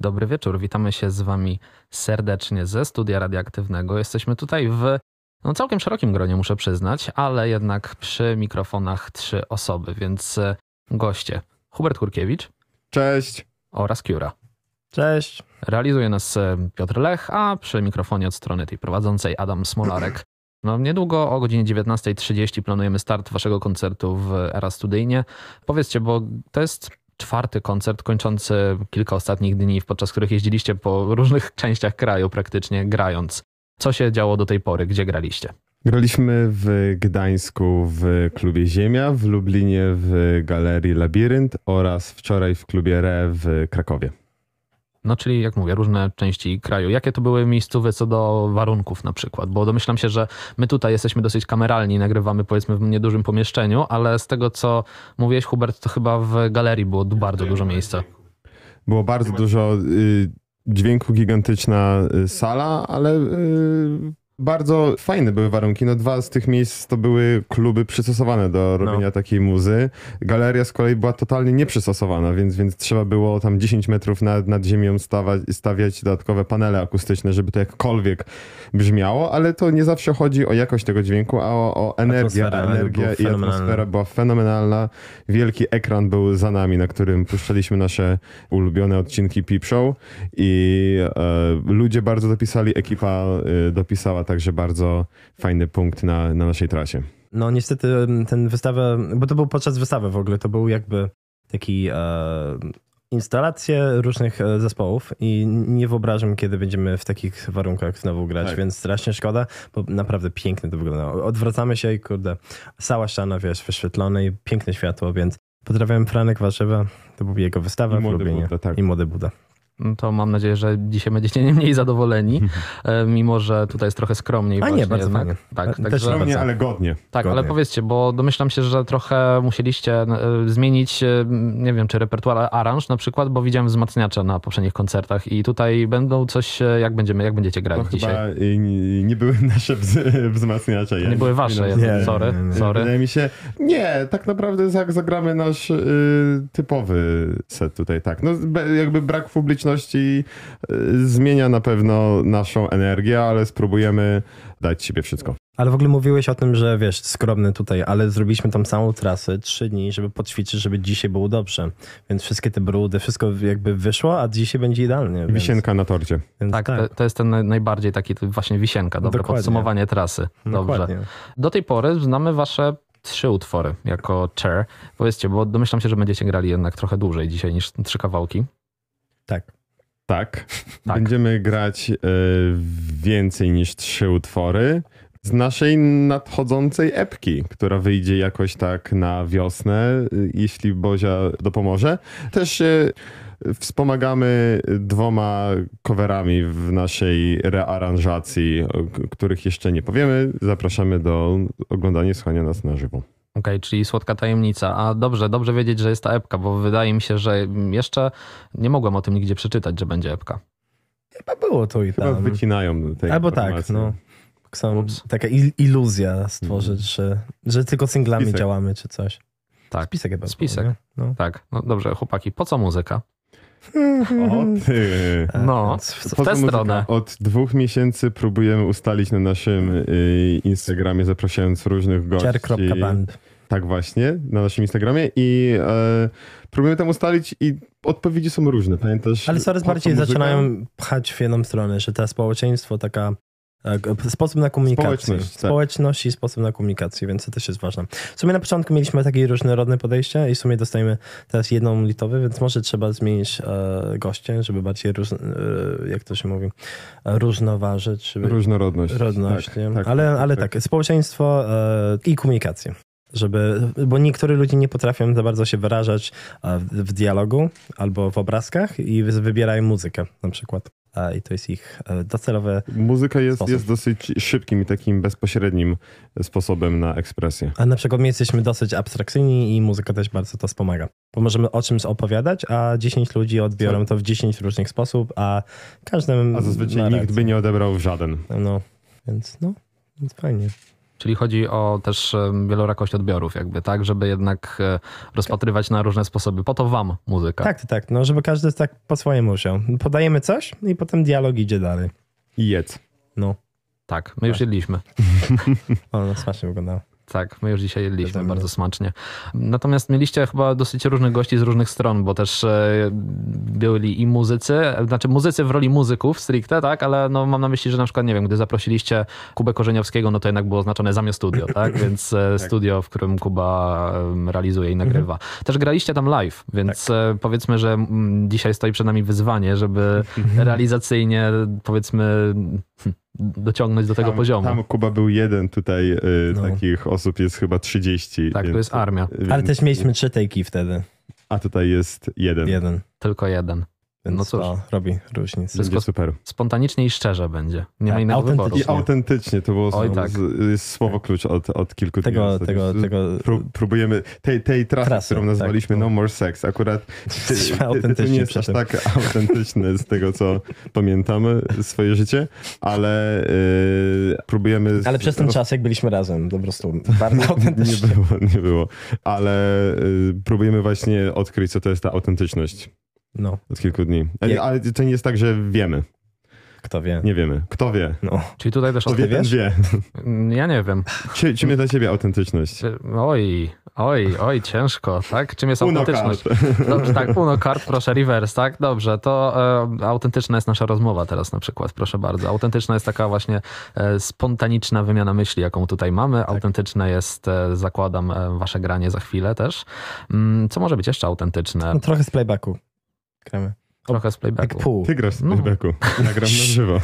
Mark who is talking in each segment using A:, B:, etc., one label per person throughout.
A: Dobry wieczór, witamy się z Wami serdecznie ze studia radioaktywnego. Jesteśmy tutaj w no, całkiem szerokim gronie, muszę przyznać, ale jednak przy mikrofonach trzy osoby, więc e, goście Hubert Kurkiewicz
B: Cześć.
A: oraz Kiura.
C: Cześć.
A: Realizuje nas e, Piotr Lech, a przy mikrofonie od strony tej prowadzącej Adam Smolarek. No, niedługo o godzinie 19.30 planujemy start waszego koncertu w Era Studyjnie. Powiedzcie, bo to jest czwarty koncert kończący kilka ostatnich dni, podczas których jeździliście po różnych częściach kraju praktycznie grając. Co się działo do tej pory? Gdzie graliście?
B: Graliśmy w Gdańsku w klubie Ziemia, w Lublinie w galerii Labirynt oraz wczoraj w klubie Re w Krakowie.
A: No, czyli jak mówię, różne części kraju. Jakie to były miejscowe co do warunków na przykład? Bo domyślam się, że my tutaj jesteśmy dosyć kameralni, nagrywamy powiedzmy w niedużym pomieszczeniu, ale z tego co mówiłeś Hubert, to chyba w galerii było d- bardzo dużo miejsca.
B: Było bardzo dużo y, dźwięku, gigantyczna y, sala, ale y, bardzo fajne były warunki. No dwa z tych miejsc to były kluby przystosowane do
C: No.
B: robienia takiej muzy. Galeria z kolei była totalnie nieprzystosowana, więc, więc trzeba było tam 10 metrów nad, nad ziemią stawać, stawiać dodatkowe panele akustyczne, żeby to jakkolwiek brzmiało, ale to nie zawsze chodzi o jakość tego dźwięku, a o, o energię.
C: Atmosfera, ale
B: Energia
C: było
B: i
C: fenomenalne.
B: atmosfera była fenomenalna. Wielki ekran był za nami, na którym puszczaliśmy nasze ulubione odcinki Peep Show i e, ludzie bardzo dopisali, ekipa e, dopisała także bardzo fajny punkt na, na naszej trasie.
C: No niestety m, ten wystawę, bo to był podczas wystawy w ogóle, to był jakby taki e, instalacje różnych e, zespołów i n- nie wyobrażam, kiedy będziemy w takich warunkach znowu grać,
B: Tak.
C: więc strasznie szkoda, bo naprawdę pięknie to wyglądało. Odwracamy się i kurde, cała ściana, wiesz, wyświetlone i piękne światło, więc pozdrawiam Franek Warzywa, to był jego wystawa
B: I
C: w
B: Młody
C: Lublinie.
B: Buddha, tak.
C: I Młody Buda.
A: No To mam nadzieję, że dzisiaj będziecie nie mniej zadowoleni, e, mimo że tutaj jest trochę skromniej.
C: Mhm. A nie,
A: właśnie,
C: bardzo
A: tak?
C: fajnie. E,
A: Tak,
C: Też
A: także-
C: nie
B: Skromnie,
C: bardzo.
B: ale godnie.
A: Tak, ale
C: Zgodnie.
A: powiedzcie, bo domyślam się, że trochę musieliście e, zmienić, e, nie wiem, czy repertuar ale aranż na przykład, bo widziałem wzmacniacze na poprzednich koncertach i tutaj będą coś, e, jak będziemy, jak będziecie grać
B: To
C: No
A: dzisiaj.
B: chyba y, nie, nie były nasze wz, wzmacniacze. Ja
A: nie były wasze,
B: przypominam
A: nie,
C: nie,
A: sorry,
C: nie, nie.
A: sorry.
B: Wydaje mi się, nie, tak naprawdę jak zagramy nasz y, typowy set tutaj, tak. No, be, jakby brak publiczności y, zmienia na pewno naszą energię, ale spróbujemy dać siebie wszystko.
C: Ale w ogóle mówiłeś o tym, że wiesz, skromny tutaj, ale zrobiliśmy tam całą trasę, trzy dni, żeby poćwiczyć, żeby dzisiaj było dobrze. Więc wszystkie te brudy, wszystko jakby wyszło, a dzisiaj będzie idealnie. Więc,
B: Wisienka na torcie.
C: Więc
A: Tak, to, to jest ten naj- najbardziej taki to właśnie wisienka, dobre
C: Dokładnie.
A: podsumowanie trasy. Dobrze.
C: dokładnie.
A: Do tej pory znamy wasze trzy utwory jako chair. Powiedzcie, bo domyślam się, że będziecie grali jednak trochę dłużej dzisiaj niż trzy kawałki.
C: Tak.
B: Tak.
A: Tak.
B: Będziemy grać y, więcej niż trzy utwory z naszej nadchodzącej epki, która wyjdzie jakoś tak na wiosnę, y, jeśli Bozia dopomoże. Też się wspomagamy dwoma coverami w naszej rearanżacji, o k- których jeszcze nie powiemy. Zapraszamy do oglądania i słuchania nas na żywo.
A: Okej, czyli słodka tajemnica. A dobrze, dobrze wiedzieć, że jest ta epka, bo wydaje mi się, że jeszcze nie mogłem o tym nigdzie przeczytać, że będzie epka.
C: Chyba było to i
B: Chyba
C: tam.
B: wycinają te
C: Tak. Albo tak,
B: informacje.
C: no. Są,
A: Ups.
C: taka il- iluzja stworzyć, że, że tylko singlami
B: Mm. Spisek.
C: działamy czy coś.
A: Tak.
C: Spisek chyba. było,
A: Spisek.
C: nie? no.
A: Tak, no dobrze, chłopaki, po co muzyka?
B: O ty.
C: Tak,
A: No.
C: więc w-
A: W tę
B: muzyka?
A: stronę.
B: Od dwóch miesięcy próbujemy ustalić na naszym y, Instagramie, zapraszając różnych gości.
C: Cier.band.
B: Tak właśnie, na naszym Instagramie i e, próbujemy tam ustalić i odpowiedzi są różne, pamiętasz?
C: Ale coraz
B: po co
C: bardziej
B: muzyka?
C: zaczynają pchać w jedną stronę, że to społeczeństwo, taka e, sposób na komunikację.
B: Społeczność, tak.
C: Społeczność i sposób na komunikację, więc to też jest ważne. W sumie na początku mieliśmy takie różnorodne podejście i w sumie dostajemy teraz jedną litowy, więc może trzeba zmienić e, goście, żeby bardziej, róż, e, jak to się mówi, e, różnoważyć. Żeby,
B: Różnorodność.
C: Rodność,
B: Tak,
C: nie?
B: tak,
C: ale,
B: tak,
C: ale
B: tak.
C: tak, społeczeństwo e, i komunikację. Żeby, bo niektórzy ludzie nie potrafią za bardzo się wyrażać e, w- w dialogu albo w obrazkach i wy- wybierają muzykę na przykład. E, I to jest ich e, docelowe.
B: Muzyka jest,
C: Sposób.
B: jest dosyć szybkim i takim bezpośrednim sposobem na ekspresję.
C: A na przykład my jesteśmy dosyć abstrakcyjni i muzyka też bardzo to wspomaga. Bo możemy o czymś opowiadać, a 10 ludzi
B: Tak.
C: odbiorą to w 10 różnych sposób, a każdy
B: A zazwyczaj nikt by nie odebrał w żaden.
C: No, więc no, więc fajnie.
A: Czyli chodzi o też em, wielorakość odbiorów, jakby, tak, żeby jednak e, rozpatrywać na różne sposoby. Po to wam muzyka.
C: Tak, tak, no żeby każdy tak po swojemu musiał. Podajemy coś i potem dialog idzie dalej.
B: I jedz.
C: No,
A: tak my już jedliśmy.
C: o, no smacznie wyglądało.
A: Tak, my już dzisiaj jedliśmy
C: Przeze mnie.
A: bardzo smacznie. Natomiast mieliście chyba dosyć różnych gości z różnych stron, bo też e, byli i muzycy, e, znaczy muzycy w roli muzyków stricte, tak, ale no, mam na myśli, że na przykład, nie wiem, gdy zaprosiliście Kubę Korzeniowskiego, no to jednak było oznaczone Zamio Studio, tak, więc e, studio, w którym Kuba em, realizuje i nagrywa.
B: Mhm.
A: Też graliście tam live, więc
B: Tak.
A: e, powiedzmy, że mm, dzisiaj stoi przed nami wyzwanie, żeby realizacyjnie, powiedzmy, hm, dociągnąć do tego
B: tam,
A: poziomu.
B: Tam Kuba był jeden, tutaj y,
C: No.
B: takich osób jest chyba 30.
A: tak, to
B: więc-
A: jest armia,
C: Ale
B: więc-
C: też mieliśmy trzy take'i wtedy.
B: A tutaj jest jeden. jeden.
C: Jeden.
A: tylko jeden.
C: Więc
A: No
C: no
A: cóż.
C: to robi różnicę.
A: Wszystko-
B: Będzie super.
A: spontanicznie i szczerze będzie. Nie ma
C: Tak,
A: innego wyboru.
C: autentycznie.
B: I autentycznie, to było
A: Oj,
B: z-
A: tak.
B: z- jest słowo klucz od, od kilku
C: Tego,
B: dni.
C: tego,
B: ostatnio.
C: tego.
B: Pró próbujemy tej, tej trasy,
C: Trasy,
B: którą nazwaliśmy
C: tak.
B: No More Sex. Akurat ty,
C: Jesteśmy
B: ty, ty, ty
C: autentyczni
B: nie jest
C: przy
B: aż
C: tym.
B: tak autentyczny z tego, co pamiętamy swoje życie, ale yy, próbujemy. z-
C: Ale przez ten
B: roz-
C: czas, jak byliśmy razem, po prostu bardzo
B: Nie
C: autentycznie.
B: było, nie było. Ale yy, próbujemy właśnie odkryć, co to jest ta autentyczność
C: No,
B: od kilku dni. Ale,
C: Jak-
B: ale to nie jest tak, że wiemy.
C: kto wie.
B: Nie wiemy. Kto wie?
C: No.
A: Czyli tutaj też
B: Kto
A: o
B: wie, ten
C: wiesz?
B: wie.
A: Ja nie wiem.
B: Czy, czym jest dla ciebie autentyczność?
A: Czy- Oj, oj, oj, ciężko, tak? Czym jest autentyczność? Dobrze, tak, Uno Card, proszę, reverse, tak? Dobrze, to e, autentyczna jest nasza rozmowa teraz na przykład, proszę bardzo. Autentyczna jest taka właśnie e, spontaniczna wymiana myśli, jaką tutaj mamy.
C: Tak.
A: Autentyczne jest, e, zakładam, e, wasze granie za chwilę też. Mm, co może być jeszcze autentyczne?
C: No, trochę z playbacku. Gramy.
A: Trochę z
C: Tak
A: playbacku.
C: pół.
B: Ty grasz w
A: No.
B: playback Ja gram na żywo.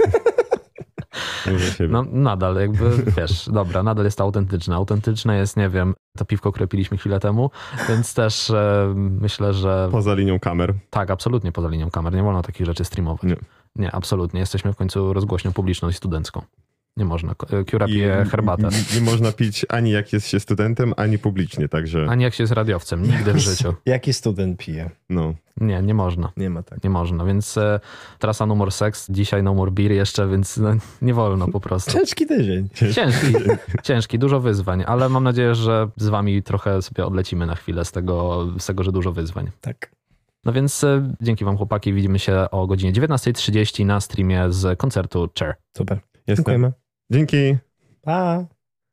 B: Mówię siebie.
A: No nadal, jakby, wiesz, dobra, nadal jest to autentyczne. Autentyczne jest, nie wiem, to piwko, które piliśmy chwilę temu, więc też e, myślę, że
B: Poza linią kamer.
A: tak, absolutnie poza linią kamer, nie wolno takich rzeczy streamować.
B: Nie.
A: Nie, absolutnie, jesteśmy w końcu rozgłośnią publiczną i studencką. Nie można, Ko- e, Kiura
B: I-
A: pije herbatę.
B: i- Nie można pić ani jak jest się studentem, ani publicznie, także
A: Ani jak się jest radiowcem, nigdy w życiu.
C: Jaki student pije?
B: no.
A: Nie, nie można.
C: Nie ma tak.
A: Nie można, więc e, trasa No More Sex, dzisiaj No More Beer jeszcze, więc no, nie wolno po prostu.
C: Ciężki tydzień.
A: Ciężki, ciężki, dużo wyzwań, ale mam nadzieję, że z wami trochę sobie odlecimy na chwilę z tego, z tego że dużo wyzwań.
C: Tak.
A: No więc e, dzięki wam chłopaki, widzimy się o godzinie 19.30 na streamie z koncertu Cher.
C: Super.
B: Jestem.
C: Dziękujemy.
B: Dzięki.
C: Pa.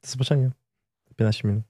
C: Do zobaczenia. 15 minut.